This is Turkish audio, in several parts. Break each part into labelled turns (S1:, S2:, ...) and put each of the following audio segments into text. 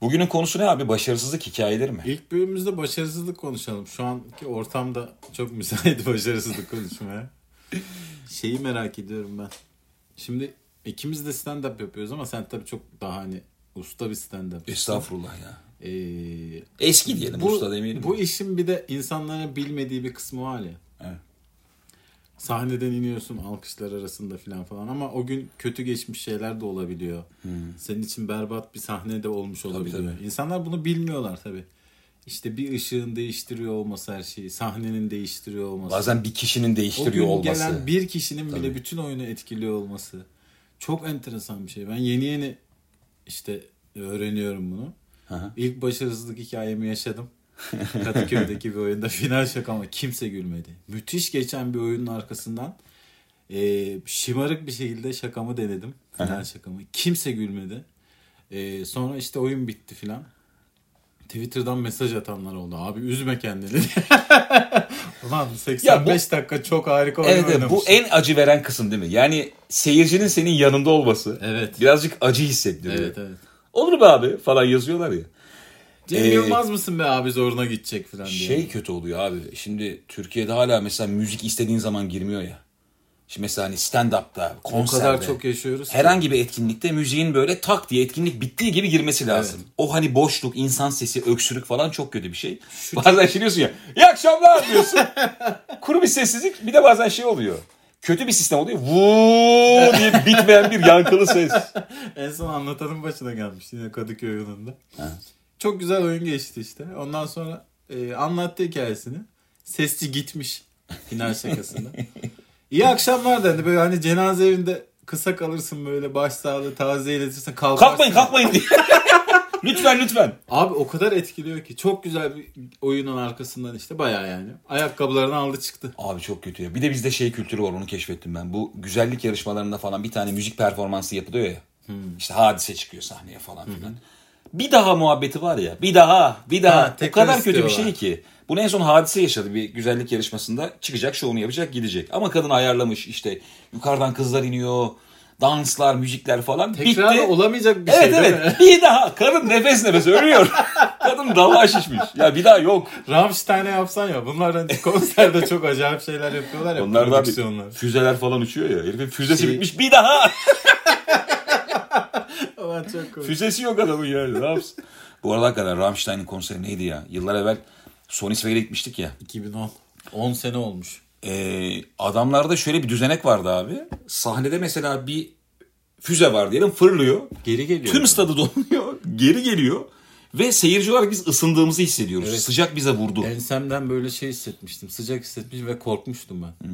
S1: Bugünün konusu ne abi? Başarısızlık hikayeleri mi?
S2: İlk bölümümüzde başarısızlık konuşalım. Şu anki ortamda çok müsait başarısızlık konuşmaya. Şeyi merak ediyorum ben. Şimdi ikimiz de stand-up yapıyoruz ama sen tabii çok daha hani usta bir stand-up.
S1: Estağfurullah ya.
S2: Ee,
S1: Eski diyelim
S2: E, bu,
S1: usta demeyelim.
S2: bu işin bir de insanların bilmediği bir kısmı var ya.
S1: Evet.
S2: Sahneden iniyorsun alkışlar arasında falan falan ama o gün kötü geçmiş şeyler de olabiliyor. Senin için berbat bir sahne de olmuş olabiliyor.
S1: Hmm. tabii.
S2: İnsanlar bunu bilmiyorlar tabii. İşte bir ışığın değiştiriyor olması her şeyi, sahnenin değiştiriyor olması.
S1: Bazen bir kişinin
S2: o
S1: değiştiriyor
S2: gün
S1: olması.
S2: gelen bir kişinin bile bütün oyunu etkiliyor olması. Çok enteresan bir şey. Ben yeni yeni işte öğreniyorum bunu.
S1: Hı hı.
S2: İlk başarısızlık hikayemi yaşadım. Kadıköy'deki bir oyunda final şakama kimse gülmedi. Müthiş geçen bir oyunun arkasından e, şımarık bir şekilde şakamı denedim. Final şakamı. Kimse gülmedi. E, sonra işte oyun bitti filan. Twitter'dan mesaj atanlar oldu. Abi üzme kendini. Ulan 85 dakika çok harika oyun
S1: Evet evet, bu
S2: oynamışsın.
S1: en acı veren kısım değil mi? Yani seyircinin senin yanında olması.
S2: Evet.
S1: Birazcık acı hissettiriyor.
S2: Evet evet.
S1: Olur be abi falan yazıyorlar ya.
S2: Cem
S1: Ee,
S2: Yılmaz mısın be abi zoruna gidecek filan diye.
S1: Şey kötü oluyor abi. Şimdi Türkiye'de hala mesela müzik istediğin zaman girmiyor ya. Şimdi mesela hani stand-up'ta,
S2: o
S1: konserde.
S2: kadar çok yaşıyoruz. ki.
S1: Herhangi bir etkinlikte müziğin böyle tak diye etkinlik bittiği gibi girmesi lazım. O hani boşluk, insan sesi, öksürük falan çok kötü bir şey. Bazen şey diyorsun ya, iyi akşamlar diyorsun. Kuru bir sessizlik bir de bazen şey oluyor. Kötü bir sistem oluyor. Vuuu diye bitmeyen bir yankılı ses.
S2: En son anlatanın başına gelmiş yine Kadıköy yolunda. Çok güzel oyun geçti işte. Ondan sonra e, anlattı hikayesini. Sesçi gitmiş final şakasında. İyi akşamlar dedi. Böyle hani cenaze evinde kısa kalırsın böyle başsağlığı taziye iletirsin. Kalkarsın.
S1: Kalkmayın kalkmayın diye. lütfen lütfen.
S2: Abi o kadar etkiliyor ki. Çok güzel bir oyunun arkasından işte bayağı yani. Ayakkabılarını aldı çıktı.
S1: Abi çok kötü ya. Bir de bizde şey kültürü var onu keşfettim ben. Bu güzellik yarışmalarında falan bir tane müzik performansı yapılıyor ya.
S2: Hmm.
S1: İşte hadise çıkıyor sahneye falan filan. Bir daha muhabbeti var ya. Bir daha, bir daha.
S2: Ha,
S1: o
S2: tekrar
S1: kadar kötü bir şey
S2: istiyorlar.
S1: ki. Bunu en son hadise yaşadı bir güzellik yarışmasında. Çıkacak, şovunu yapacak, gidecek. Ama kadın ayarlamış işte. Yukarıdan kızlar iniyor. Danslar, müzikler falan.
S2: Tekrar
S1: Bitti.
S2: olamayacak bir
S1: Evet
S2: şey değil mi?
S1: evet. Bir daha. Kadın nefes nefes ölüyor. kadın dalağa şişmiş. Ya bir daha yok.
S2: Rammstein'e yapsan ya. Bunlardan konserde çok acayip şeyler yapıyorlar ya.
S1: Onlar da
S2: prodüksiyonlar.
S1: bir füzeler falan uçuyor ya. Herifin füzesi
S2: Şey-
S1: bitmiş bir daha.
S2: Ulan çok komik.
S1: Füzesi yok adamın yani. Ne yapsın? Bu arada hakikaten Rammstein'in konseri neydi ya? Yıllar evvel Sony Sphere'e gitmiştik ya.
S2: 2010. 10 sene olmuş.
S1: Ee, adamlarda şöyle bir düzenek vardı abi. Sahnede mesela bir füze var diyelim fırlıyor.
S2: Geri geliyor.
S1: Tüm stadı donuyor. Geri geliyor. Ve seyirci olarak biz ısındığımızı hissediyoruz. Sıcak bize vurdu.
S2: Ensemden böyle şey hissetmiştim. Sıcak hissetmiş ve korkmuştum ben.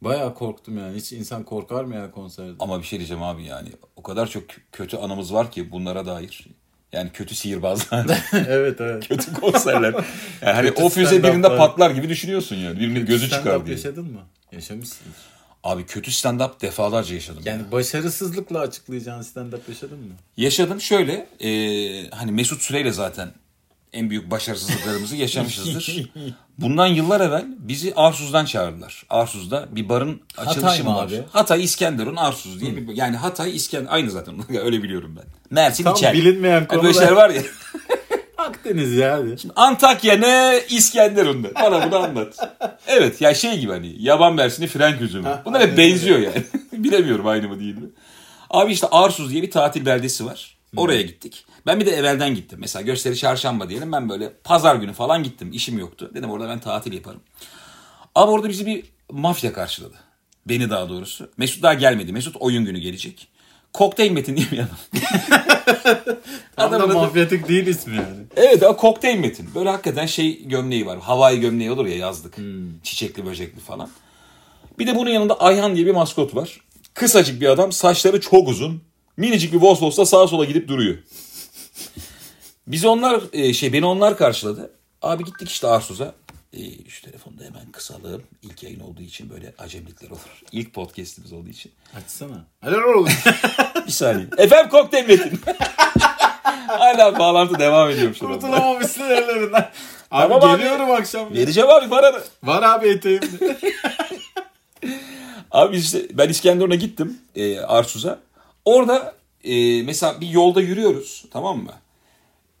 S2: Bayağı korktum yani. Hiç insan korkar mı ya konserde?
S1: Ama bir şey diyeceğim abi yani. O kadar çok kö- kötü anımız var ki bunlara dair. Yani kötü sihirbazlar.
S2: evet evet.
S1: kötü konserler. Yani hani
S2: Kötü
S1: o füze
S2: stand-up'lar.
S1: birinde patlar gibi düşünüyorsun yani. Birinin gözü
S2: Stand-up
S1: çıkar diye.
S2: yaşadın mı? Yaşamışsın.
S1: Abi kötü stand-up defalarca yaşadım.
S2: Yani başarısızlıkla açıklayacağın stand-up yaşadın mı?
S1: Yaşadım şöyle. e, hani Mesut Süreyle zaten en büyük başarısızlıklarımızı yaşamışızdır. Bundan yıllar evvel bizi Arsuz'dan çağırdılar. Arsuz'da bir barın açılışı
S2: mı
S1: mı var?
S2: abi?
S1: Hatay İskenderun Arsuz diye bir Yani Hatay İskender aynı zaten öyle biliyorum ben. Mersin
S2: Tam
S1: İçer.
S2: bilinmeyen
S1: Hani böyle
S2: konular.
S1: şeyler var ya.
S2: Akdeniz yani.
S1: Antakya ne İskenderun'da. Bana bunu anlat. Evet ya şey gibi hani yaban mersini frenk üzümü. Bunlar hep
S2: aynen
S1: benziyor yani. Bilemiyorum aynı mı değil mi? Abi işte Arsuz diye bir tatil beldesi var.
S2: Hmm.
S1: Oraya gittik. Ben bir de evvelden gittim. Mesela gösteri çarşamba diyelim. Ben böyle pazar günü falan gittim. İşim yoktu. Dedim orada ben tatil yaparım. Abi orada bizi bir mafya karşıladı. Beni daha doğrusu. Mesut daha gelmedi. Mesut oyun günü gelecek. Kokteyl Metin diye bir adam.
S2: Tam da
S1: Adamın adı-
S2: mafyatik değil ismi yani.
S1: Evet o kokteyl metin. Böyle hakikaten şey gömleği var. Havai gömleği olur ya yazlık. Çiçekli böcekli falan. Bir de bunun yanında Ayhan diye bir maskot var. Kısacık bir adam. Saçları çok uzun. Minicik bir Vosvos'ta sağa sola gidip duruyor. Biz onlar e, şey beni onlar karşıladı. Abi gittik işte Arsuz'a. E, şu telefonda hemen kısalım. İlk yayın olduğu için böyle acemilikler olur. İlk podcast'imiz olduğu için.
S2: Açsana. Alo.
S1: Bir saniye. Efendim kokteyl metin. Hala bağlantı devam ediyor şu anda.
S2: Kurtulamamışsın ellerinden. Abi
S1: Tamam abi.
S2: geliyorum akşam.
S1: Vereceğim abi paranı.
S2: Var abi eteğimde.
S1: Abi işte ben İskenderun'a gittim e, Arsuz'a. Orada e, mesela bir yolda yürüyoruz tamam mı?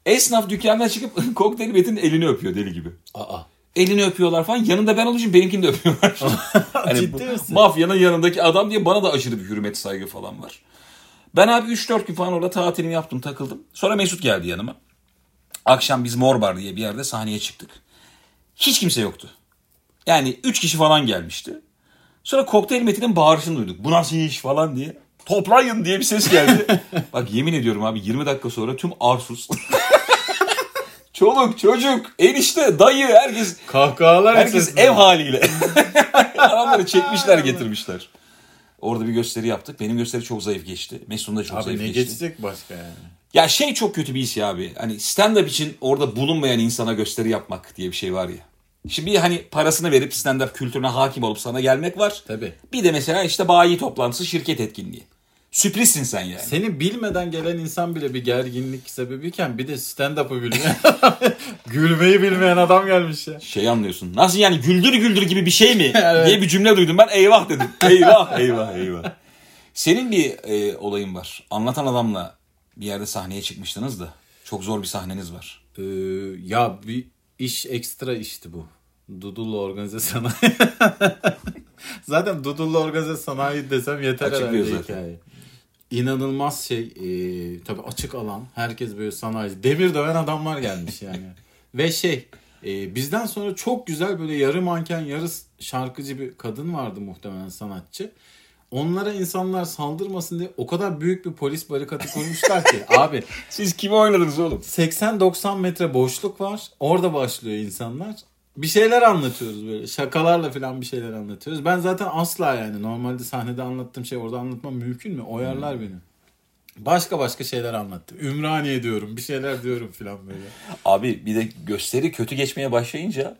S1: Esnaf dükkandan çıkıp kokteyl Metin'in elini öpüyor deli gibi.
S2: Aa.
S1: Elini öpüyorlar falan. Yanında ben olunca benimkini de öpüyorlar. hani bu
S2: Ciddi misin?
S1: mafyanın yanındaki adam diye bana da aşırı bir hürmet saygı falan var. Ben abi 3-4 gün falan orada tatilimi yaptım takıldım. Sonra Mesut geldi yanıma. Akşam biz Morbar diye bir yerde sahneye çıktık. Hiç kimse yoktu. Yani 3 kişi falan gelmişti. Sonra kokteyl Metin'in bağırışını duyduk. Bu nasıl iş falan diye. Toplayın diye bir ses geldi. Bak yemin ediyorum abi 20 dakika sonra tüm Arsus. Çoluk, çocuk, enişte, dayı herkes
S2: Kahkahalar
S1: Herkes
S2: esasında.
S1: ev haliyle. Adamları çekmişler getirmişler. Orada bir gösteri yaptık. Benim gösteri çok zayıf geçti. Mesut'un da çok
S2: Abi
S1: zayıf
S2: ne
S1: geçti.
S2: geçecek başka yani?
S1: Ya şey çok kötü bir his ya abi. Hani stand-up için orada bulunmayan insana gösteri yapmak diye bir şey var ya. Şimdi bir hani parasını verip stand-up kültürüne hakim olup sana gelmek var.
S2: Tabii.
S1: Bir de mesela işte bayi toplantısı şirket etkinliği. Sürprizsin sen yani.
S2: Seni bilmeden gelen insan bile bir gerginlik sebebiyken bir de stand-up'ı bilmeyen gülmeyi bilmeyen adam gelmiş ya.
S1: şey anlıyorsun. Nasıl yani güldür güldür gibi bir şey mi?
S2: Evet.
S1: diye bir cümle duydum ben eyvah dedim. Eyvah eyvah eyvah. Senin bir e, olayın var. Anlatan adamla bir yerde sahneye çıkmıştınız da. Çok zor bir sahneniz var.
S2: Ee, ya bir iş ekstra işti bu. Dudullu organize sanayi. zaten Dudullu organize sanayi desem yeter
S1: Açıklıyor
S2: herhalde
S1: zaten.
S2: hikaye. İnanılmaz şey. E, tabii açık alan. Herkes böyle sanayi. Demir döven adamlar gelmiş yani. Ve şey e, bizden sonra çok güzel böyle yarı manken yarı şarkıcı bir kadın vardı muhtemelen sanatçı. Onlara insanlar saldırmasın diye o kadar büyük bir polis barikatı kurmuşlar ki abi
S1: Siz kimi oynadınız oğlum?
S2: 80-90 metre boşluk var. Orada başlıyor insanlar. Bir şeyler anlatıyoruz böyle. Şakalarla falan bir şeyler anlatıyoruz. Ben zaten asla yani normalde sahnede anlattığım şey orada anlatmam mümkün mü? Oyarlar beni. Başka başka şeyler anlattım. Ümraniye diyorum, bir şeyler diyorum falan böyle.
S1: Abi bir de gösteri kötü geçmeye başlayınca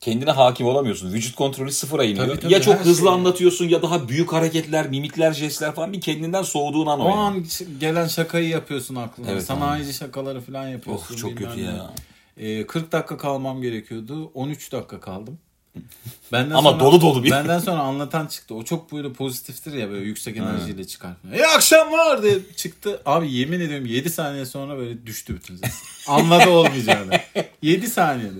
S1: kendine hakim olamıyorsun. Vücut kontrolü sıfıra iniyor.
S2: Tabii, tabii,
S1: ya çok
S2: her
S1: hızlı
S2: şey.
S1: anlatıyorsun ya daha büyük hareketler, mimikler, jestler falan bir kendinden soğuduğun an o.
S2: O
S1: yani.
S2: an gelen şakayı yapıyorsun aklına.
S1: Evet,
S2: Sanayici şakaları falan yapıyorsun.
S1: Of çok
S2: bilmem
S1: kötü
S2: ne.
S1: ya.
S2: Ee, 40 dakika kalmam gerekiyordu. 13 dakika kaldım. Benden
S1: Ama dolu dolu bir-
S2: Benden sonra anlatan çıktı. O çok böyle pozitiftir ya böyle yüksek enerjiyle çıkar. İyi akşamlar diye çıktı. Abi yemin ediyorum 7 saniye sonra böyle düştü bütün ses. Anladı olmayacağını. 7 saniyede.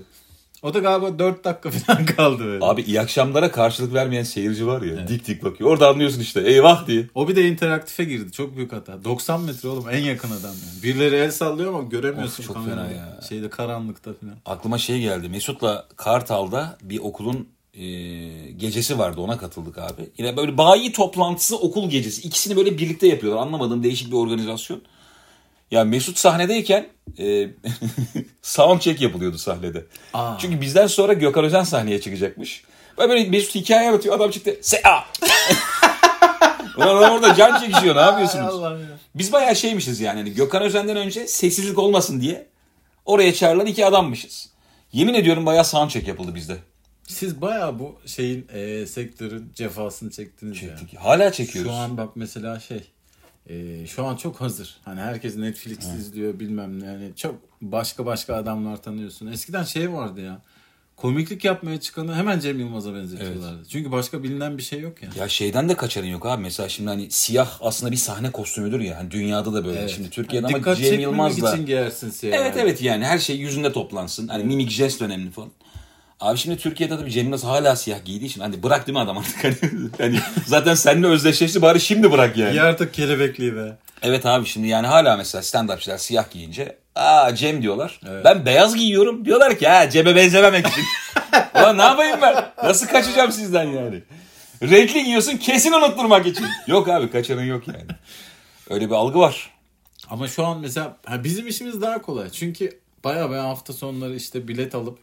S2: O da galiba 4 dakika falan kaldı böyle.
S1: Abi iyi akşamlara karşılık vermeyen seyirci var ya. Dik dik bakıyor. Orada anlıyorsun işte eyvah diye.
S2: O bir de interaktife girdi. Çok büyük hata. 90 metre oğlum en yakın adam yani. Birileri el sallıyor ama göremiyorsun
S1: Of, çok
S2: kamerada.
S1: fena ya.
S2: Şeyde karanlıkta falan.
S1: Aklıma şey geldi. Mesut'la Kartal'da bir okulun e, gecesi vardı. Ona katıldık abi. Yine böyle bayi toplantısı okul gecesi. İkisini böyle birlikte yapıyorlar. Anlamadığım değişik bir organizasyon. Ya Mesut sahnedeyken e, sound check yapılıyordu sahnede.
S2: Aa.
S1: Çünkü bizden sonra Gökhan Özen sahneye çıkacakmış. Ben böyle Mesut hikaye anlatıyor. Adam çıktı. Se-a! Ulan adam orada can çekişiyor. Ne yapıyorsunuz?
S2: ya.
S1: Biz bayağı şeymişiz yani. Hani Gökhan Özen'den önce sessizlik olmasın diye oraya çağrılan iki adammışız. Yemin ediyorum bayağı soundcheck yapıldı bizde.
S2: Siz bayağı bu şeyin e, sektörün cefasını çektiniz yani.
S1: Çektik. Hala çekiyoruz.
S2: Şu an bak mesela şey e, şu an çok hazır. Hani herkes Netflix izliyor bilmem ne. Yani çok başka başka adamlar tanıyorsun. Eskiden şey vardı ya. Komiklik yapmaya çıkanı hemen Cem Yılmaz'a benzetiyorlardı. Çünkü başka bilinen bir şey yok ya.
S1: Ya şeyden de kaçarın yok abi. Mesela şimdi hani siyah aslında bir sahne kostümüdür ya. Hani dünyada da böyle. Şimdi Türkiye'de
S2: Dikkat
S1: ama Cem
S2: çekmemek
S1: Yılmaz'la.
S2: için giyersin siyah.
S1: Evet evet yani her şey yüzünde toplansın. Hani mimik jest önemli falan. Abi şimdi Türkiye'de tabii Cem Yılmaz hala siyah giydiği için hani bırak değil mi adam artık hani, hani zaten seninle özdeşleşti bari şimdi bırak yani.
S2: Ya artık kelebekliği be.
S1: Evet abi şimdi yani hala mesela stand-upçılar siyah giyince aa Cem diyorlar. Ben beyaz giyiyorum diyorlar ki ha Cem'e benzememek için. Ulan ne yapayım ben? Nasıl kaçacağım sizden yani? Renkli giyiyorsun kesin unutturmak için. Yok abi kaçanın yok yani. Öyle bir algı var.
S2: Ama şu an mesela ha, bizim işimiz daha kolay. Çünkü baya baya hafta sonları işte bilet alıp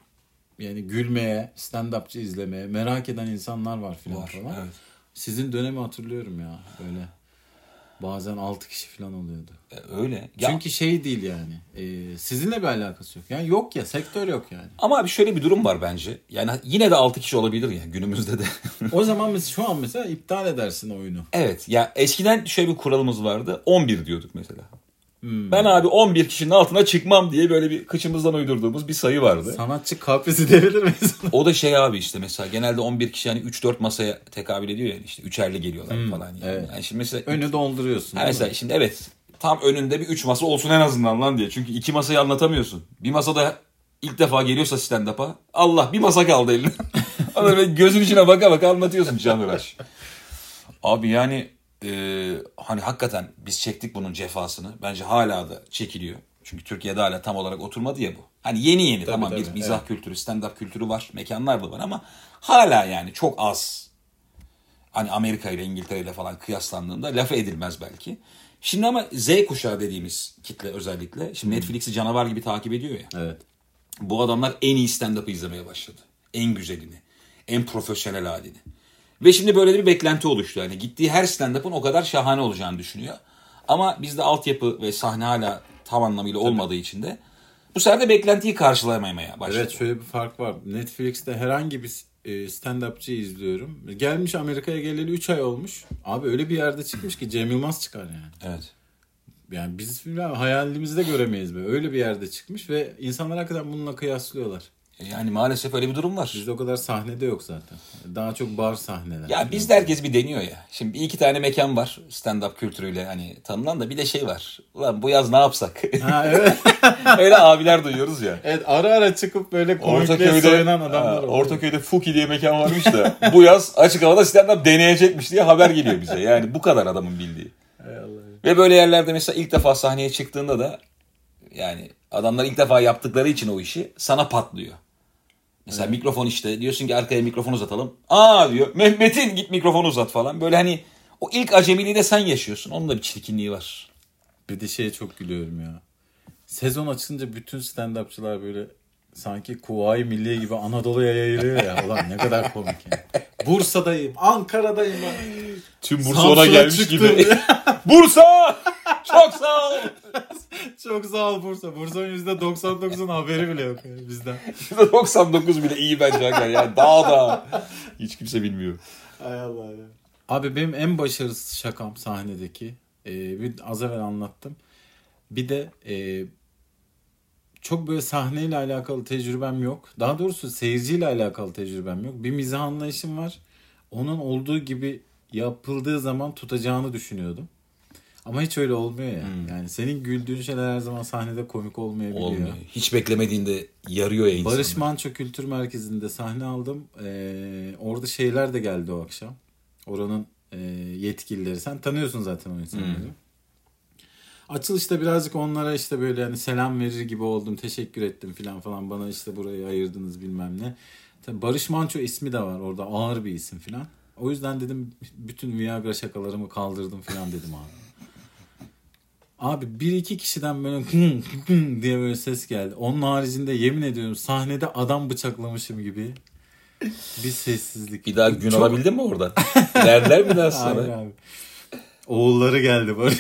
S2: yani gülmeye, stand-upçı izlemeye merak eden insanlar var filan
S1: Var,
S2: falan.
S1: evet.
S2: Sizin dönemi hatırlıyorum ya böyle. Bazen 6 kişi filan oluyordu.
S1: E, Öyle. Ya,
S2: Çünkü şey değil yani. e, sizinle bir alakası yok. Yani yok ya sektör yok yani.
S1: Ama abi şöyle bir durum var bence. Yani yine de 6 kişi olabilir ya günümüzde de.
S2: O zaman mesela şu an mesela iptal edersin oyunu.
S1: evet ya eskiden şöyle bir kuralımız vardı. 11 diyorduk mesela. Ben abi 11 kişinin altına çıkmam diye böyle bir kıçımızdan uydurduğumuz bir sayı vardı.
S2: Sanatçı kaprisi diyebilir miyiz?
S1: O da şey abi işte mesela genelde 11 kişi hani 3-4 masaya tekabül ediyor yani işte üçerli geliyorlar falan yani.
S2: evet.
S1: yani şimdi mesela,
S2: Önü dolduruyorsun.
S1: ha
S2: değil mi?
S1: mesela şimdi evet tam önünde bir üç masa olsun en azından lan diye. Çünkü iki masayı anlatamıyorsun. Bir masada ilk defa geliyorsa stand-up'a Allah bir masa kaldı eline. Adam böyle gözün içine baka baka anlatıyorsun canıraş. Abi yani e, hani hakikaten biz çektik bunun cefasını. Bence hala da çekiliyor. Çünkü Türkiye'de hala tam olarak oturmadı ya bu. Hani yeni yeni tamam
S2: tabii,
S1: bir mizah kültürü, stand-up kültürü var. Mekanlar da var ama hala yani çok az hani Amerika ile İngiltere ile falan kıyaslandığında lafı edilmez belki. Şimdi ama Z kuşağı dediğimiz kitle özellikle şimdi Netflix'i canavar gibi takip ediyor ya.
S2: Evet.
S1: Bu adamlar en iyi stand-up'ı izlemeye başladı. En güzelini, en profesyonel halini. Ve şimdi böyle bir beklenti oluştu. Yani gittiği her stand-up'ın o kadar şahane olacağını düşünüyor. Ama bizde altyapı ve sahne hala tam anlamıyla olmadığı için de bu sefer de beklentiyi karşılamamaya başladı.
S2: Evet şöyle bir fark var. Netflix'te herhangi bir e, stand-upçı izliyorum. Gelmiş Amerika'ya geleli 3 ay olmuş. Abi öyle bir yerde çıkmış ki Cem Yılmaz çıkar yani.
S1: Evet.
S2: Yani biz bilmem, hayalimizde göremeyiz be. Öyle bir yerde çıkmış ve insanlar hakikaten bununla kıyaslıyorlar.
S1: E, Yani maalesef öyle bir durum var.
S2: Bizde o kadar sahnede yok zaten. Daha çok bar sahneler.
S1: Ya bizde herkes bir deniyor ya. Şimdi bir iki tane mekan var stand-up kültürüyle hani tanınan da bir de şey var. Ulan bu yaz ne yapsak?
S2: Ha, evet.
S1: Öyle abiler duyuyoruz ya.
S2: evet ara ara çıkıp böyle komikliğe
S1: Ortaköy'de,
S2: soyunan adamlar
S1: ha,
S2: oluyor.
S1: Ortaköy'de Fuki diye mekan varmış da bu yaz açık havada stand-up deneyecekmiş diye haber geliyor bize. Yani bu kadar adamın bildiği.
S2: Hay Allah.
S1: Ve böyle yerlerde mesela ilk defa sahneye çıktığında da yani adamlar ilk defa yaptıkları için o işi sana patlıyor. Mesela mikrofon işte diyorsun ki arkaya mikrofon uzatalım. Aa diyor Mehmet'in git mikrofonu uzat falan. Böyle hani o ilk acemiliği de sen yaşıyorsun. Onun da bir çirkinliği var.
S2: Bir de şeye çok gülüyorum ya. Sezon açınca bütün stand-upçılar böyle sanki Kuvayi Milliye gibi Anadolu'ya yayılıyor ya. Ulan ne kadar komik yani. Bursa'dayım, Ankara'dayım.
S1: Tüm
S2: Samsun'a çıktım.
S1: Bursa! Çok sağ ol!
S2: Çok sağ ol Bursa. Bursa'nın %99'un haberi bile yok yani bizden.
S1: %99 bile iyi bence hakikaten. Yani daha da. Hiç kimse bilmiyor.
S2: Hay Allah ya. Abi benim en başarısız şakam sahnedeki. e, bir az evvel anlattım. Bir de e, çok böyle sahneyle alakalı tecrübem yok. Daha doğrusu seyirciyle alakalı tecrübem yok. Bir mizah anlayışım var. Onun olduğu gibi yapıldığı zaman tutacağını düşünüyordum. Ama hiç öyle olmuyor ya. Yani senin güldüğün şeyler her zaman sahnede komik olmayabiliyor.
S1: Olmuyor. Hiç beklemediğinde yarıyor ya insanı.
S2: Barış Manço Kültür Merkezi'nde sahne aldım. Ee, orada şeyler de geldi o akşam. Oranın e, yetkilileri. Sen tanıyorsun zaten o insanları. Açılışta birazcık onlara işte böyle hani selam verir gibi oldum. Teşekkür ettim falan falan. Bana işte burayı ayırdınız bilmem ne. Tabii Barış Manço ismi de var orada. Ağır bir isim falan. O yüzden dedim bütün Viagra şakalarımı kaldırdım falan dedim abi. Abi bir iki kişiden böyle hın, hın diye böyle ses geldi. Onun haricinde yemin ediyorum sahnede adam bıçaklamışım gibi bir sessizlik.
S1: Bir daha gün alabildin mi oradan? Verdiler mi daha
S2: Hayır
S1: sonra?
S2: abi. Oğulları geldi böyle.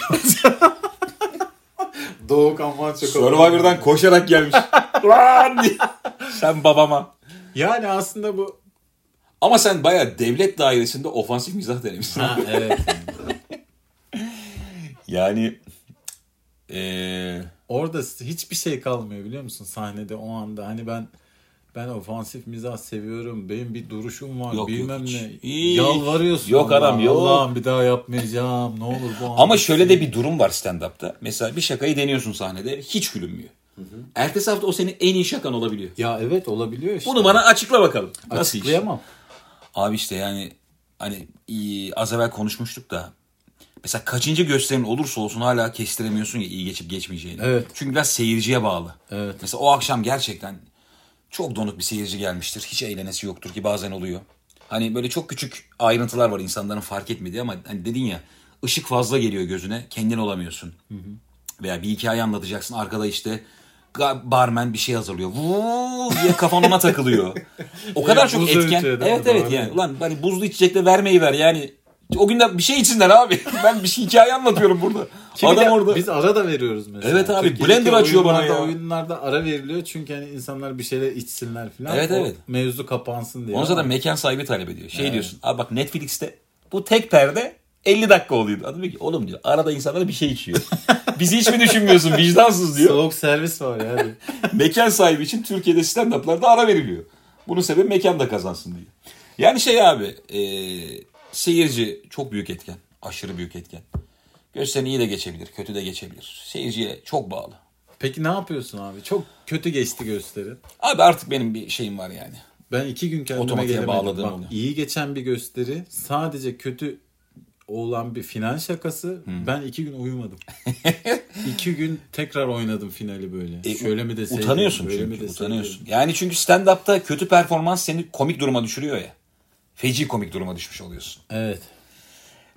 S2: Doğu Kamanço.
S1: Survivor'dan koşarak gelmiş. Lan diye. Sen babama.
S2: Yani aslında bu.
S1: Ama sen bayağı devlet dairesinde ofansif mizah denemişsin.
S2: Ha, evet.
S1: Yani eee,
S2: Orada hiçbir şey kalmıyor biliyor musun sahnede o anda. Hani ben ben ofansif mizah seviyorum. Benim bir duruşum var.
S1: Yok, yok,
S2: bilmem
S1: hiç.
S2: ne.
S1: Hiç.
S2: Yalvarıyorsun.
S1: Yok
S2: Allah'a,
S1: adam, yok.
S2: Allah'ım bir daha yapmayacağım. Ne olur bu anda
S1: ama şöyle de bir durum var stand-up'ta. Mesela bir şakayı deniyorsun sahnede hiç gülünmüyor. Ertesi hafta o senin en iyi şakan olabiliyor.
S2: Ya evet olabiliyor işte.
S1: Bunu bana açıkla bakalım. Nasıl iş?
S2: açıklayamam.
S1: Abi işte yani hani iyi, az evvel konuşmuştuk da mesela kaçıncı gösterin olursa olsun hala kestiremiyorsun ya iyi geçip geçmeyeceğini.
S2: Evet.
S1: Çünkü biraz seyirciye bağlı.
S2: Evet.
S1: Mesela o akşam gerçekten çok donuk bir seyirci gelmiştir. Hiç eğlenesi yoktur ki bazen oluyor. Hani böyle çok küçük ayrıntılar var insanların fark etmediği ama hani dedin ya ışık fazla geliyor gözüne kendin olamıyorsun. Veya bir hikaye anlatacaksın arkada işte ga- barmen bir şey hazırlıyor. Vuuu diye kafan ona takılıyor. O kadar çok
S2: buzlu
S1: etken.
S2: içiyor değil mi?
S1: Evet evet
S2: Doğru.
S1: yani. Ulan hani buzlu içecekle vermeyi ver yani. O gün de bir şey içsinler abi. ben bir şey hikaye anlatıyorum burada.
S2: Kimi
S1: Adam
S2: de-
S1: orada.
S2: Biz ara da veriyoruz mesela.
S1: Evet abi,
S2: Türkiye'deki
S1: blender açıyor bana
S2: oyunlarda,
S1: ya.
S2: Oyunlarda ara veriliyor çünkü hani insanlar bir şeyler içsinler falan.
S1: Evet,
S2: O
S1: evet.
S2: Mevzu kapansın diye.
S1: Onu zaten mekan sahibi talep ediyor. Şey diyorsun. Abi bak Netflix'te bu tek perde 50 dakika oluyor. Adam diyor ki oğlum diyor arada insanlar bir şey içiyor. Bizi hiç mi düşünmüyorsun vicdansız diyor.
S2: Soğuk servis var yani.
S1: mekan sahibi için Türkiye'de stand-up'larda ara veriliyor. Bunun sebebi mekan da kazansın diye. Yani şey abi e, seyirci çok büyük etken. Aşırı büyük etken. Gösteren iyi de geçebilir, kötü de geçebilir. Seyirciye çok bağlı.
S2: Peki ne yapıyorsun abi? Çok kötü geçti gösteri.
S1: Abi artık benim bir şeyim var yani.
S2: Ben iki gün kendime
S1: Otomatiğe
S2: gelemedim.
S1: bağladım
S2: Bak,
S1: onu.
S2: iyi geçen bir gösteri sadece kötü olan bir final şakası.
S1: Hmm.
S2: Ben iki gün uyumadım. iki gün tekrar oynadım finali böyle.
S1: E,
S2: Şöyle mi deseydim?
S1: Utanıyorsun
S2: böyle mi
S1: çünkü,
S2: deseydim?
S1: utanıyorsun. Yani çünkü stand-up'ta kötü performans seni komik duruma düşürüyor ya. Feci komik duruma düşmüş oluyorsun.
S2: Evet.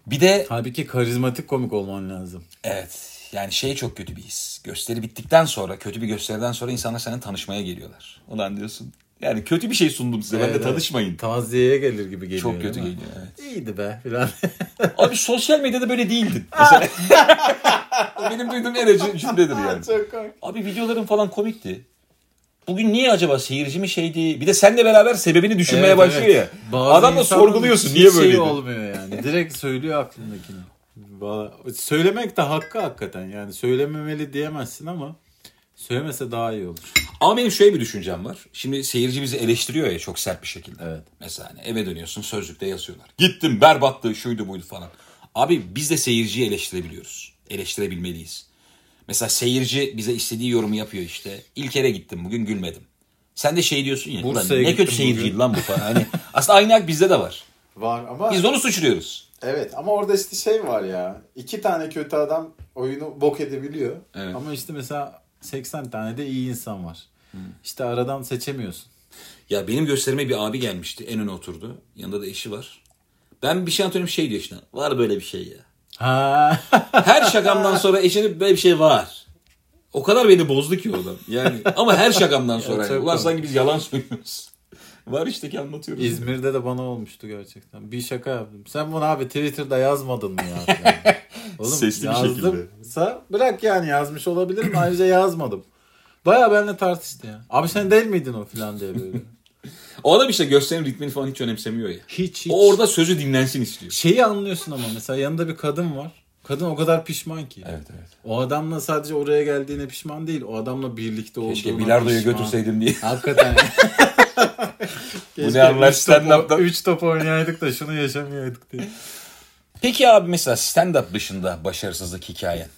S1: Bir de
S2: Halbuki karizmatik komik olman lazım.
S1: evet yani şey çok kötü bir his. Gösteri bittikten sonra, kötü bir gösteriden sonra insanlar seninle tanışmaya geliyorlar. Ulan diyorsun. Yani kötü bir şey sundum size.
S2: Evet,
S1: Benimle
S2: evet.
S1: tanışmayın.
S2: Taziyeye gelir gibi geliyor.
S1: Çok kötü
S2: değil mi?
S1: geliyor. Evet.
S2: İyiydi be filan.
S1: Abi sosyal medyada böyle değildin. Mesela. Benim duyduğum en acı cümledir yani. Abi videoların falan komikti. Bugün niye acaba seyirci mi şeydi? Bir de seninle beraber sebebini düşünmeye
S2: Evet,
S1: başlıyor
S2: evet.
S1: ya.
S2: Bazı
S1: Adamla
S2: insanın
S1: sorguluyorsun
S2: hiç
S1: niye
S2: şeyi
S1: böyleydi?
S2: olmuyor yani. Direkt söylüyor aklındakini. Valla- Söylemek de hakkı hakikaten. Yani söylememeli diyemezsin ama söylemese daha iyi olur.
S1: Ama benim şöyle bir düşüncem var. Şimdi seyirci bizi eleştiriyor ya çok sert bir şekilde.
S2: Evet.
S1: Mesela hani eve dönüyorsun sözlükte yazıyorlar. Gittim berbattı şuydu buydu falan. Abi biz de seyirciyi eleştirebiliyoruz. Eleştirebilmeliyiz. Mesela seyirci bize istediği yorumu yapıyor işte. İlker'e gittim bugün gülmedim. Sen de şey diyorsun ya. "Ulan
S2: Bursa'ya
S1: ne
S2: gittim
S1: kötü seyirciydi
S2: bugün."
S1: lan bu falan. Hani aslında aynı hak bizde de var.
S3: Var ama
S1: Biz de onu suçluyoruz.
S3: evet ama orada işte şey var ya. iki tane kötü adam oyunu bok edebiliyor.
S1: Evet.
S2: Ama işte mesela 80 tane de iyi insan var. İşte aradan seçemiyorsun.
S1: Ya benim gösterime bir abi gelmişti. En öne oturdu. Yanında da eşi var. Ben bir şey anlatıyorum şey diyor işte. Var böyle bir şey ya.
S2: Ha.
S1: Her şakamdan sonra eşinip böyle bir şey var. O kadar beni bozdu ki o adam. Yani ama her şakamdan sonra. yani.
S2: çok
S1: Ulan
S2: komik.
S1: sanki biz yalan söylüyoruz. Var işte ki anlatıyoruz.
S2: İzmir'de de bana olmuştu gerçekten. Bir şaka yaptım. Sen bunu abi Twitter'da yazmadın mı ya? filan. Oğlum
S1: Sesli bir
S2: yazdımsa bırak yani yazmış olabilirim. Ayrıca yazmadım. Baya benimle tartıştı ya. Abi sen değil miydin o filan diye böyle.
S1: O adam işte gösterinin ritmini falan hiç önemsemiyor ya.
S2: Hiç hiç.
S1: O orada sözü dinlensin istiyor.
S2: Şeyi anlıyorsun ama mesela yanında bir kadın var. Kadın o kadar pişman ki.
S1: evet.
S2: O adamla sadece oraya geldiğine pişman değil. O adamla birlikte olduğuna
S1: Keşke bilardoya
S2: pişman.
S1: götürseydim diye.
S2: Hakikaten.
S1: Bu ne anlar stand-up'tan?
S2: 3 top oynayaydık da şunu yaşamayaydık diye.
S1: Peki abi mesela stand-up dışında başarısızlık hikayen.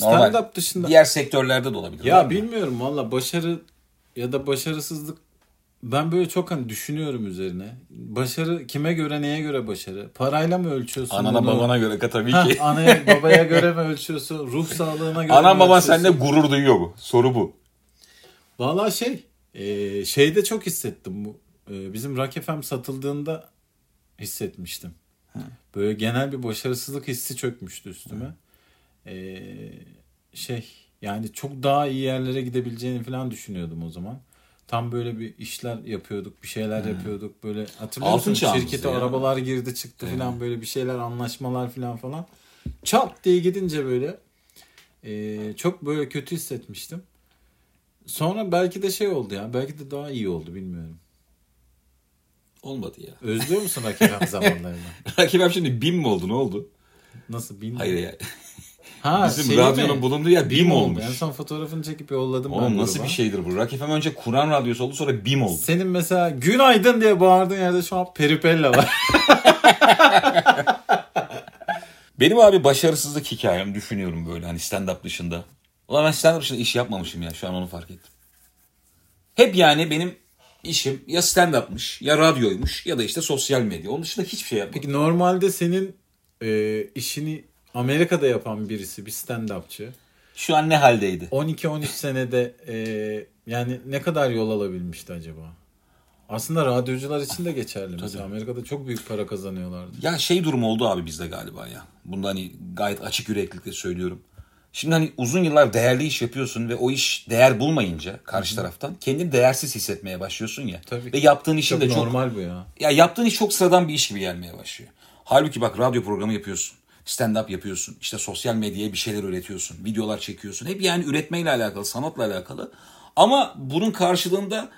S1: Normal.
S2: Stand-up dışında.
S1: Diğer sektörlerde de olabilir.
S2: Ya
S1: değil mi?
S2: bilmiyorum valla başarı ya da başarısızlık ben böyle çok hani düşünüyorum üzerine. Başarı kime göre neye göre başarı? Parayla mı ölçüyorsun?
S1: Anana
S2: bunu?
S1: babana göre ka- tabii
S2: Hah,
S1: ki.
S2: anaya babaya göre mi ölçüyorsun? Ruh sağlığına göre
S1: Anan
S2: mi
S1: baban
S2: ölçüyorsun?
S1: seninle gurur duyuyor bu. Soru bu.
S2: Valla şey e, şeyde çok hissettim bu. E, bizim Rock FM satıldığında hissetmiştim. Böyle genel bir başarısızlık hissi çökmüştü üstüme. E, şey yani çok daha iyi yerlere gidebileceğini falan düşünüyordum o zaman. Tam böyle bir işler yapıyorduk, bir şeyler yapıyorduk. Böyle hatırlıyor
S1: Altın
S2: musun?
S1: çağımızdı
S2: Şirkete
S1: ya.
S2: arabalar girdi çıktı falan böyle bir şeyler anlaşmalar falan falan. Çat diye gidince böyle e, çok böyle kötü hissetmiştim. Sonra belki de şey oldu ya. Belki de daha iyi oldu bilmiyorum.
S1: Olmadı ya.
S2: Özlüyor musun hakikaten zamanlarını?
S1: Rakibim şimdi BİM mi oldu ne oldu?
S2: Nasıl bilmiyorum.
S1: Hayır ya.
S2: Ha,
S1: Bizim
S2: şey
S1: radyonun
S2: mi?
S1: bulunduğu yer BİM
S2: oldu.
S1: olmuş.
S2: En son fotoğrafını çekip yolladım
S1: Oğlum nasıl
S2: gruba.
S1: bir şey? şeydir bu? Rakip hemen önce Kur'an radyosu oldu sonra BİM oldu.
S2: Senin mesela günaydın diye bağırdığın yerde şu an peripella var.
S1: Benim abi başarısızlık hikayem düşünüyorum böyle hani stand-up dışında. Ulan ben stand-up dışında iş yapmamışım ya şu an onu fark ettim. Hep yani benim işim ya stand-up'mış ya radyoymuş ya da işte sosyal medya. Onun dışında hiçbir şey yapmadım.
S2: Peki normalde senin e, işini Amerika'da yapan birisi bir stand-upçı.
S1: Şu an ne haldeydi?
S2: 12-13 senede e, yani ne kadar yol alabilmişti acaba? Aslında radyocular için de geçerli. Mesela Amerika'da çok büyük para kazanıyorlardı.
S1: Ya şey durum oldu abi bizde galiba ya. Bunda hani gayet açık yüreklilikle söylüyorum. Şimdi hani uzun yıllar değerli iş yapıyorsun ve o iş değer bulmayınca karşı taraftan kendini değersiz hissetmeye başlıyorsun ya.
S2: Tabii
S1: Ve
S2: ki.
S1: yaptığın işin
S2: Çok
S1: de çok
S2: normal bu ya.
S1: ya yaptığın iş çok sıradan bir iş gibi gelmeye başlıyor. Halbuki bak radyo programı yapıyorsun. Stand-up yapıyorsun. işte sosyal medyaya bir şeyler üretiyorsun. Videolar çekiyorsun. Hep yani üretmeyle alakalı, sanatla alakalı. Ama bunun karşılığında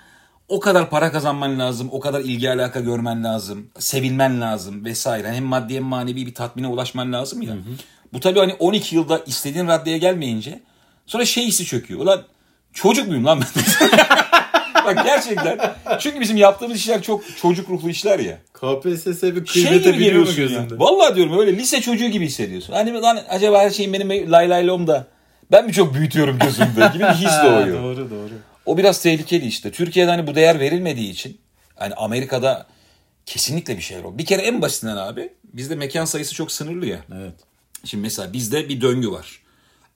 S1: o kadar para kazanman lazım, o kadar ilgi alaka görmen lazım, sevilmen lazım vesaire. Hem maddi hem manevi bir tatmine ulaşman lazım ya. Bu tabii hani 12 yılda istediğin raddeye gelmeyince sonra şey hissi çöküyor. Ulan çocuk muyum lan ben? Bak gerçekten. Çünkü bizim yaptığımız işler çok çocuk ruhlu işler ya.
S2: KPSS
S1: Şey
S2: bir kıymete
S1: gibi
S2: biniyor mu
S1: geliyorsun ya.
S2: gözünde?
S1: Vallahi diyorum öyle lise çocuğu gibi hissediyorsun. Hani lan acaba her şeyin benim lay laylom da ben mi çok büyütüyorum gözümde gibi bir his
S2: Ha,
S1: doğuyor.
S2: doğru doğru.
S1: O biraz tehlikeli işte. Türkiye'de hani bu değer verilmediği için hani Amerika'da kesinlikle bir şeyler oldu. Bir kere en basitinden abi bizde mekan sayısı çok sınırlı ya.
S2: Evet.
S1: Şimdi mesela bizde bir döngü var.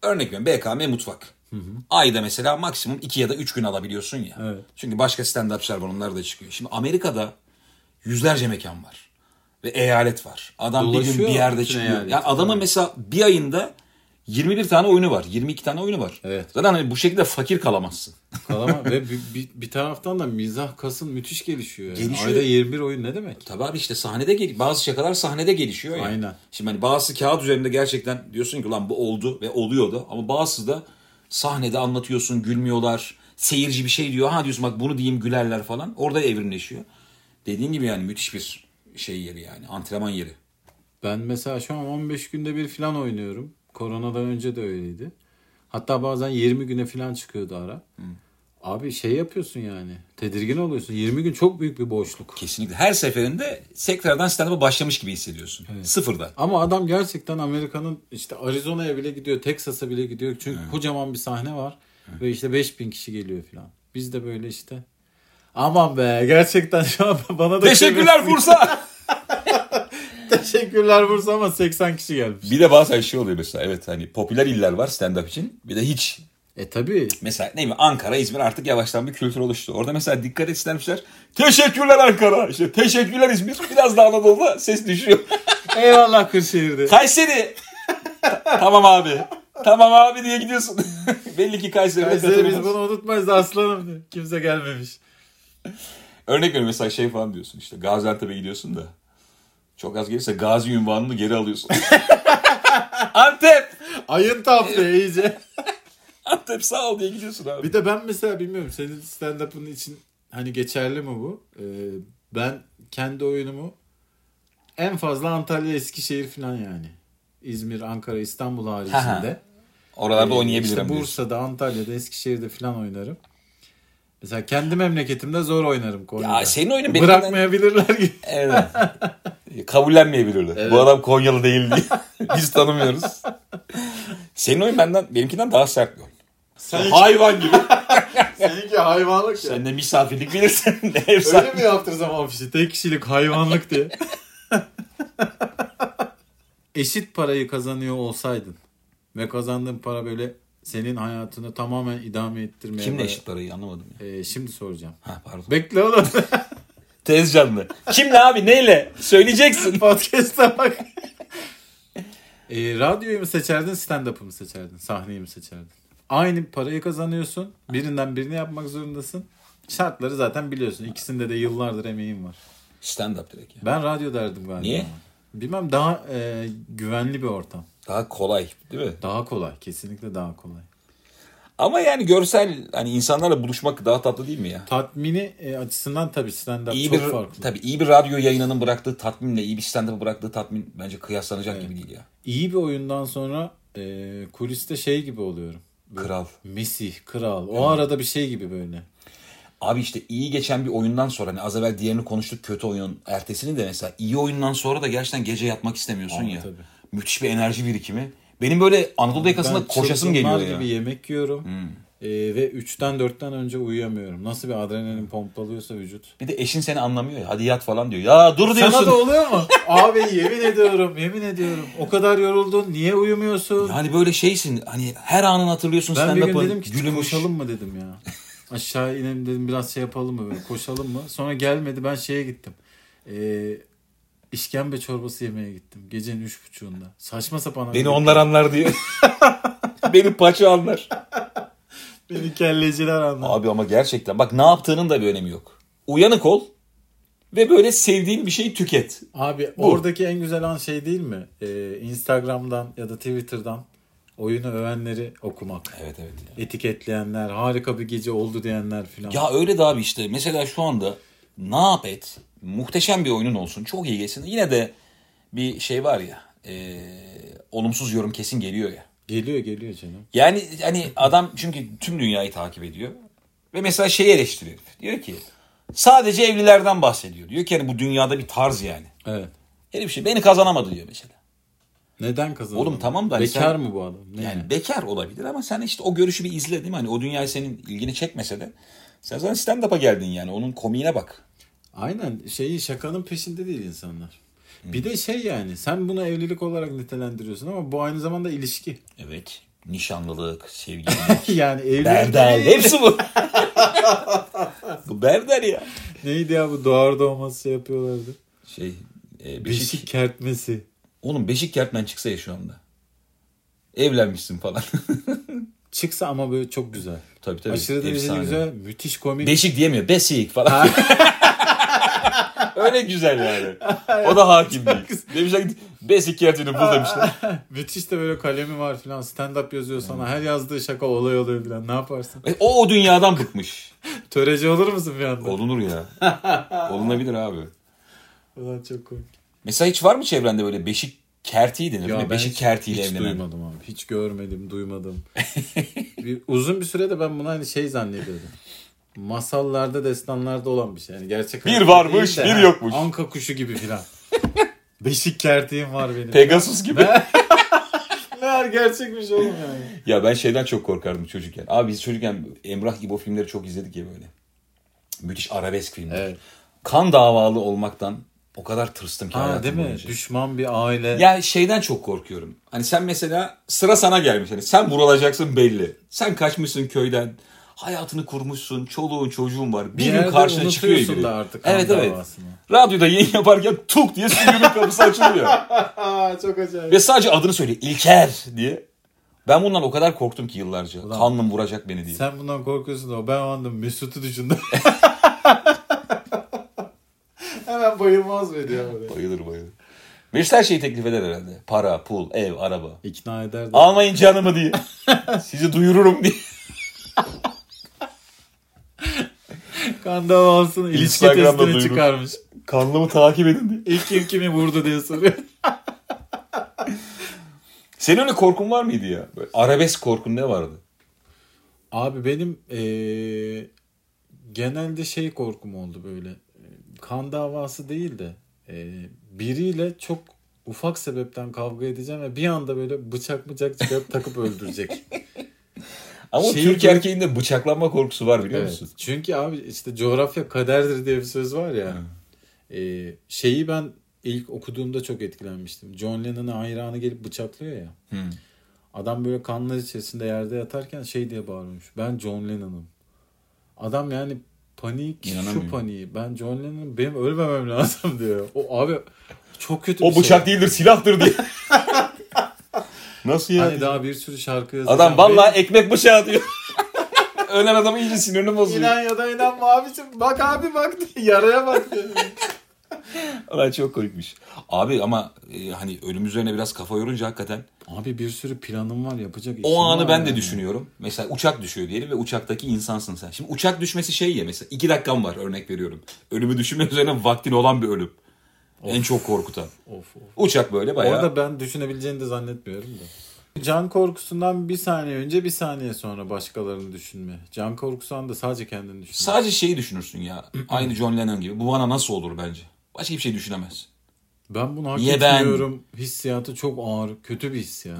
S1: Örnek veriyorum BKM mutfak. Ayda mesela maksimum 2 ya da 3 gün alabiliyorsun ya.
S2: Evet.
S1: Çünkü başka stand-upçılar var onlar da çıkıyor. Şimdi Amerika'da yüzlerce mekan var. Ve eyalet var. Adam bir gün
S2: Dolaşıyor
S1: bir yerde
S2: bütün
S1: çıkıyor.
S2: eyalet.
S1: Yani adamın mesela bir ayında 21 tane oyunu var. 22 tane oyunu var.
S2: Evet.
S1: Zaten hani bu şekilde fakir kalamazsın.
S2: Kalama ve bir, bir, bir taraftan da mizah kasın müthiş gelişiyor. Yani.
S1: Gelişiyor.
S2: Ayda 21 oyun ne demek?
S1: Tabii abi işte sahnede gel bazı şakalar sahnede gelişiyor ya.
S2: Aynen.
S1: Şimdi hani bazı kağıt üzerinde gerçekten diyorsun ki lan bu oldu ve oluyordu ama bazısı da sahnede anlatıyorsun gülmüyorlar. Seyirci bir şey diyor ha diyorsun bak bunu diyeyim gülerler falan. Orada evrimleşiyor. Dediğin gibi yani müthiş bir şey yeri yani antrenman yeri.
S2: Ben mesela şu an 15 günde bir falan oynuyorum. Koronadan önce de öyleydi. Hatta bazen 20 güne falan çıkıyordu ara. Abi şey yapıyorsun yani. Tedirgin oluyorsun. 20 gün çok büyük bir boşluk.
S1: Kesinlikle her seferinde tekrardan stand-up'a başlamış gibi hissediyorsun. Sıfırda.
S2: Ama adam gerçekten Amerika'nın işte Arizona'ya bile gidiyor, Texas'a bile gidiyor. Çünkü kocaman bir sahne var ve işte 5000 kişi geliyor falan. Biz de böyle işte aman be gerçekten şu an bana da
S1: Teşekkürler Bursa.
S2: Teşekkürler Bursa ama 80 kişi gelmiş.
S1: bir de bazen şey oluyor mesela evet hani popüler iller var stand-up için bir de hiç
S2: E tabii.
S1: Mesela ne bileyim Ankara, İzmir artık yavaştan bir kültür oluştu. Orada mesela dikkat etsinmişler. Teşekkürler Ankara. İşte teşekkürler İzmir. Biraz daha Anadolu'da ses düşüyor.
S2: Eyvallah Kırşehir'de.
S1: Kayseri. tamam abi. Tamam abi diye gidiyorsun. Belli ki Kayseri'de
S2: Kayseri biz
S1: katılmaz.
S2: bunu unutmayız da aslanım diyor. Kimse gelmemiş.
S1: Örnek veriyorum mesela şey falan diyorsun işte Gaziantep'e gidiyorsun da. Çok az gelirse Gazi ünvanını geri alıyorsun. Antep.
S2: Ayın taftı iyice.
S1: Antep sağ ol diye gidiyorsun abi.
S2: Bir de ben mesela bilmiyorum senin stand-up'ın için hani geçerli mi bu? Ee, ben kendi oyunumu en fazla Antalya, Eskişehir falan yani. İzmir, Ankara, İstanbul haricinde.
S1: Oralarda
S2: Ee,
S1: oynayabilirim
S2: işte
S1: diyorsun.
S2: Bursa'da, Antalya'da, Eskişehir'de falan oynarım. Mesela kendi memleketimde zor oynarım Konya'da.
S1: Ya şey, senin oyunun benimkinden-
S2: Bırakmayabilirler gibi.
S1: Evet. Kabullenmeyebilirler. Bu adam Konyalı değil diye. Biz tanımıyoruz. Senin oyun benden, benimkinden daha sert bir oyun.
S3: Sen-
S1: Hayvan gibi.
S3: Seninki hayvanlık ya.
S1: Sen de misafirlik bilirsin. Ne ev
S3: Öyle
S1: sahibi.
S3: mi yaptırsam?
S2: Tamam işte tek kişilik hayvanlık diye. Eşit parayı kazanıyor olsaydın ve kazandığın para böyle senin hayatını tamamen idame ettirmeye...
S1: Kimle
S2: böyle-
S1: eşit parayı anlamadım ya.
S2: Ee, şimdi soracağım.
S1: Ha pardon.
S2: Bekle oğlum.
S1: Tez canlı. Kimle abi neyle? Söyleyeceksin.
S2: Podcast'a bak. Ee, radyoyu mu seçerdin, stand-up'ı mı seçerdin, sahneyi mi seçerdin? Aynı parayı kazanıyorsun. Birinden birini yapmak zorundasın. Şartları zaten biliyorsun. İkisinde de yıllardır emeğin var.
S1: Stand up direkt ya.
S2: Ben radyo derdim galiba.
S1: Niye?
S2: Bilmem daha e, güvenli bir ortam.
S1: Daha kolay değil mi?
S2: Daha kolay. Kesinlikle daha kolay.
S1: Ama yani görsel hani insanlarla buluşmak daha tatlı değil mi ya?
S2: Tatmini e, açısından tabii stand-up
S1: İyi
S2: çok
S1: bir
S2: farklı.
S1: tabii iyi bir radyo yayınının bıraktığı tatminle iyi bir stand bıraktığı tatmin bence kıyaslanacak gibi değil ya.
S2: İyi bir oyundan sonra e, kuliste şey gibi oluyorum.
S1: Kral.
S2: Mesih, kral.
S1: Hmm.
S2: O arada bir şey gibi böyle.
S1: Abi işte iyi geçen bir oyundan sonra hani az evvel diğerini konuştuk kötü oyunun ertesini de mesela iyi oyundan sonra da gerçekten gece yatmak istemiyorsun ya.
S2: tabii.
S1: Müthiş bir enerji birikimi. Benim böyle Anadolu yakasında
S2: Ben
S1: koşasım
S2: çılgınlar
S1: geliyor ya. Hmm.
S2: gibi yemek yiyorum. E, ve 3'ten 4'ten önce uyuyamıyorum. Nasıl bir adrenalin pompalıyorsa vücut.
S1: Bir de eşin seni anlamıyor ya. Hadi yat falan diyor. Ya dur diyorsun.
S2: Sana da oluyor mu? Abi yemin ediyorum, yemin ediyorum. O kadar yoruldun, niye uyumuyorsun?
S1: Yani böyle şeysin hani her anını hatırlıyorsun
S2: Ben bir gün
S1: stand-up'ın.
S2: dedim ki
S1: gülümüş.
S2: koşalım mı dedim ya. Aşağı inelim dedim biraz şey yapalım mı böyle koşalım mı. Sonra gelmedi ben şeye gittim. Ee, işkembe çorbası yemeye gittim. Gecenin üç buçuğunda. Saçma sapan.
S1: Beni onlar anlar diyor. Beni paça anlar.
S2: Beni kelleciler anladı.
S1: Abi ama gerçekten bak ne yaptığının da bir önemi yok. Uyanık ol ve böyle sevdiğin bir şeyi tüket.
S2: Abi
S1: Bu.
S2: oradaki en güzel an şey değil mi? Ee, Instagram'dan ya da Twitter'dan oyunu övenleri okumak.
S1: Evet evet. ya.
S2: Etiketleyenler, harika bir gece oldu diyenler filan.
S1: Ya öyle de abi işte mesela şu anda ne yap et muhteşem bir oyunun olsun çok iyi geçsin. Yine de bir şey var ya e, olumsuz yorum kesin geliyor ya.
S2: Geliyor geliyor canım.
S1: Yani hani adam çünkü tüm dünyayı takip ediyor. Ve mesela şeyi eleştiriyor. herif. Diyor ki sadece evlilerden bahsediyor. Diyor ki yani bu dünyada bir tarz yani.
S2: Evet.
S1: Herif şey beni kazanamadı diyor mesela.
S2: Neden kazandı?
S1: Oğlum tamam da hani
S2: Bekar
S1: sen-
S2: mı bu adam? Ne?
S1: Yani bekar olabilir ama sen işte o görüşü bir izle değil mi? Hani o dünyayı senin ilgini çekmese de sen zaten stand-up'a geldin yani. Onun komiğine bak.
S2: Aynen şeyi şakanın peşinde değil insanlar. Bir de şey yani sen bunu evlilik olarak nitelendiriyorsun ama bu aynı zamanda ilişki.
S1: Evet. Nişanlılık, sevgililik,
S2: yani evlilik
S1: berder.
S2: değil.
S1: Hepsi bu. bu berder ya.
S2: Neydi ya bu doğar doğmaz şey yapıyorlardı.
S1: Şey, e, beşik.
S2: Beşik kertmesi.
S1: Oğlum beşik kertmen çıksa ya şu anda. Evlenmişsin falan.
S2: Çıksa ama böyle çok güzel.
S1: tabii tabii.
S2: Aşırı derecede
S1: efsane.
S2: güzel. Müthiş komik.
S1: Beşik diyemiyor. Besik falan. Öyle güzel yani. O da hakim değil. Demişler ki besik kertini bul demişler.
S2: Müthiş de böyle kalemi var filan. Stand up yazıyor sana. Her yazdığı şaka olay oluyor filan. Ne yaparsın?
S1: E, O o dünyadan bıkmış.
S2: Töreci olur musun bir anda?
S1: Olunur ya. Olunabilir abi.
S2: Ulan çok komik.
S1: Mesela hiç var mı çevrende böyle beşik kertiği denir değil mi? Beşik kertiyle
S2: hiç
S1: evlenen.
S2: duymadım abi. Hiç görmedim, duymadım. bir, uzun bir sürede ben bunu hani şey zannediyordum. Masallarda, destanlarda olan bir şey. Yani gerçek hayatta
S1: varmış,
S2: değil
S1: bir yokmuş.
S2: Anka kuşu gibi filan. Beşik kertiğim var benim.
S1: Pegasus gibi.
S2: Meğer gerçekmiş oğlum yani.
S1: ya ben şeyden çok korkardım çocukken. Abi biz çocukken Emrah gibi o filmleri çok izledik ya böyle. Müthiş arabesk filmler.
S2: Evet.
S1: Kan davalı olmaktan o kadar tırstım ki
S2: Ha
S1: hayatım
S2: değil mi?
S1: boyunca.
S2: Düşman bir aile.
S1: Ya şeyden çok korkuyorum. Hani sen mesela sıra sana gelmiş. Hani sen vurulacaksın belli. Sen kaçmışsın köyden. Hayatını kurmuşsun. Çoluğun çocuğun var.
S2: Bir
S1: Bir, gün
S2: yerde
S1: karşına çıkıyor
S2: unutuyorsun
S1: gibi.
S2: da artık kan
S1: evet evet.
S2: davasını.
S1: Radyoda yayın yaparken tuk diye stüdyonun kapısı açılıyor.
S3: Aa, çok acayip.
S1: Ve sadece adını söylüyor. İlker diye. Ben bundan o kadar korktum ki yıllarca. Kanlım vuracak beni diye.
S2: Sen bundan korkuyorsun da ben o anda Mesut'u düşündüm.
S3: Hemen bayılmaz mıydı ya oraya?
S1: Bayılır bayılır. Mesut her şeyi teklif eder herhalde. Para, pul, ev, araba.
S2: İkna ederdim.
S1: Almayın canımı diye. Sizi duyururum diye.
S2: Kan davasını ilişki
S1: Instagram'da
S2: testini
S1: duyurur.
S2: çıkarmış.
S1: Kanlımı takip edin diye.
S2: İlk kim kimi vurdu diye soruyor.
S1: Senin öyle korkun var mıydı ya? Böyle arabesk korkun ne vardı?
S2: Abi benim eee, genelde şey korkum oldu böyle. Eee, Kan davası değil de eee, biriyle çok ufak sebepten kavga edeceğim ve bir anda böyle bıçak bıçak çıkarıp takıp öldürecek.
S1: Ama o
S2: Şeyi
S1: Türk
S2: böyle-
S1: erkeğinde bıçaklanma korkusu var biliyor
S2: Evet.
S1: musun?
S2: Çünkü abi işte coğrafya kaderdir diye bir söz var ya. Eee, şeyi ben ilk okuduğumda çok etkilenmiştim. John Lennon'a hayranı gelip bıçaklıyor ya. Adam böyle kanlar içerisinde yerde yatarken şey diye bağırmış. Ben John Lennon'ım. Adam yani panik
S1: İnanamıyorum.
S2: şu paniği. Ben John Lennon'ım benim ölmemem lazım diyor. O abi çok kötü
S1: O
S2: bir şey.
S1: bıçak değildir silahtır diye. Nasıl ya?
S2: Hani daha bir sürü şarkı yazacağım.
S1: Adam vallahi ekmek bıçağı diyor. Ölen adamın iyice sinirini bozuyor.
S3: İnan ya da inanma abicim. Bak abi bak. Yaraya bak. diyor.
S1: Ulan çok komikmiş. Abi ama e, hani ölüm üzerine biraz kafa yorunca hakikaten
S2: Benim- Abi bir sürü planım var yapacak işim
S1: o anı
S2: var
S1: ben de
S2: yani.
S1: düşünüyorum. Mesela uçak düşüyor diyelim ve uçaktaki insansın sen. Şimdi uçak düşmesi şey ya mesela iki dakikam var örnek veriyorum. Ölümü düşünme üzerine vaktin olan bir ölüm. En çok korkutan.
S2: Of of.
S1: Uçak böyle bayağı.
S2: Orada ben düşünebileceğini de zannetmiyorum da. Can korkusundan bir saniye önce bir saniye sonra başkalarını düşünme. Can korkusundan da sadece kendini düşünme.
S1: Sadece şeyi düşünürsün ya. Aynı John Lennon gibi. Bu bana nasıl olur bence. Başka bir şey düşünemez.
S2: Ben bunu hak
S1: Niye ben?
S2: etmiyorum. Hissiyatı çok ağır. Kötü bir hissiyat.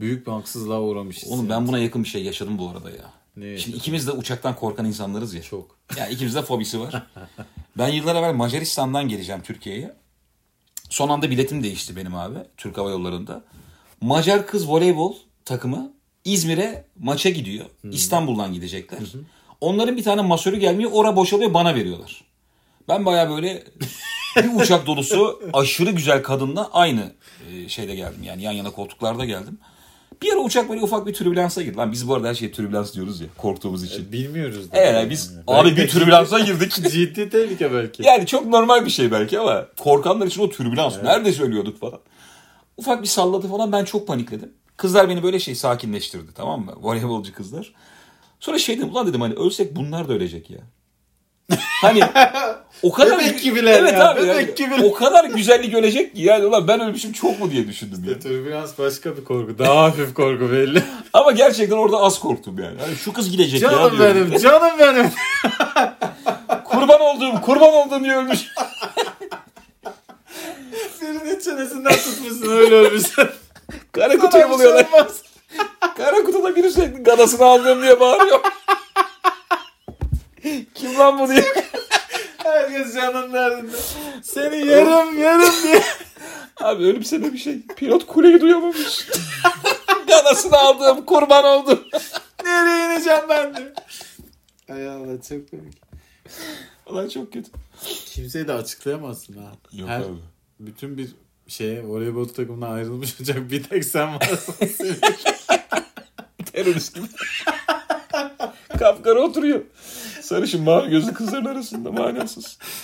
S2: Büyük bir haksızlığa uğramış hissiyat.
S1: Oğlum ben buna yakın bir şey yaşadım bu arada ya.
S2: Ne
S1: Şimdi ikimiz de uçaktan korkan insanlarız ya.
S2: Çok.
S1: Ya ikimiz de fobisi var. ben yıllar evvel Macaristan'dan geleceğim Türkiye'ye. Son anda biletim değişti benim abi. Türk Hava Yolları'nda. Macar kız voleybol takımı İzmir'e maça gidiyor. İstanbul'dan gidecekler. Onların bir tane masörü gelmiyor. Ora boşalıyor bana veriyorlar. Ben baya böyle bir uçak dolusu aşırı güzel kadınla aynı e, şeyde geldim. Yani yan yana koltuklarda geldim. Bir ara uçak böyle ufak bir türbülansa girdi. Lan biz bu arada her şeye türbülans diyoruz ya korktuğumuz için.
S2: Bilmiyoruz. da.
S1: Evet biz
S2: Yani.
S1: abi
S2: Belki
S1: bir türbülansa girdik.
S2: de Ciddi tehlike belki.
S1: Yani çok normal bir şey belki ama korkanlar için o türbülans. Nerede söylüyorduk falan. Ufak bir salladı falan ben çok panikledim. Kızlar beni böyle şey sakinleştirdi tamam mı? Voleybolcu kızlar. Sonra şey dedim ulan dedim hani ölsek bunlar da ölecek ya. Hani o kadar
S3: Bebek gibiler
S1: evet
S3: ya,
S1: abi
S3: bebek
S1: yani
S3: gibiler.
S1: o kadar güzellik ölecek ki yani ulan ben ölmüşüm çok mu diye düşündüm yani.
S2: Türbülans başka bir korku. Daha hafif korku belli.
S1: Ama gerçekten orada az korktum yani. Hani
S4: Şu kız gidecek ya
S2: canım
S4: diyorum.
S2: benim, canım benim.
S1: kurban olduğum, kurban olduğum diye ölmüş.
S2: Birinin çenesinden tutmuşsun öyle ölmüşsün. şey
S1: Kara kutuyu buluyorlar. Kara kutuda biri sürekli gadasını aldım diye bağırıyor. Kim lan bu diye.
S2: Herkes canın derdinde. Seni yerim yerim diye.
S1: Abi ölümse de bir şey. Pilot kuleyi duyamamış. gadasını aldım, kurban oldum.
S2: Nereye ineceğim ben de.
S3: Ay Allah çok komik.
S1: Ulan çok kötü.
S2: Kimseyi de açıklayamazsın ha. Her- Bütün bir şeye voleybol takımından ayrılmış olacak bir tek sen varsın.
S1: Terörist gibi. Kapkara oturuyor. Sarışın mavi gözlü kızların arasında manasız.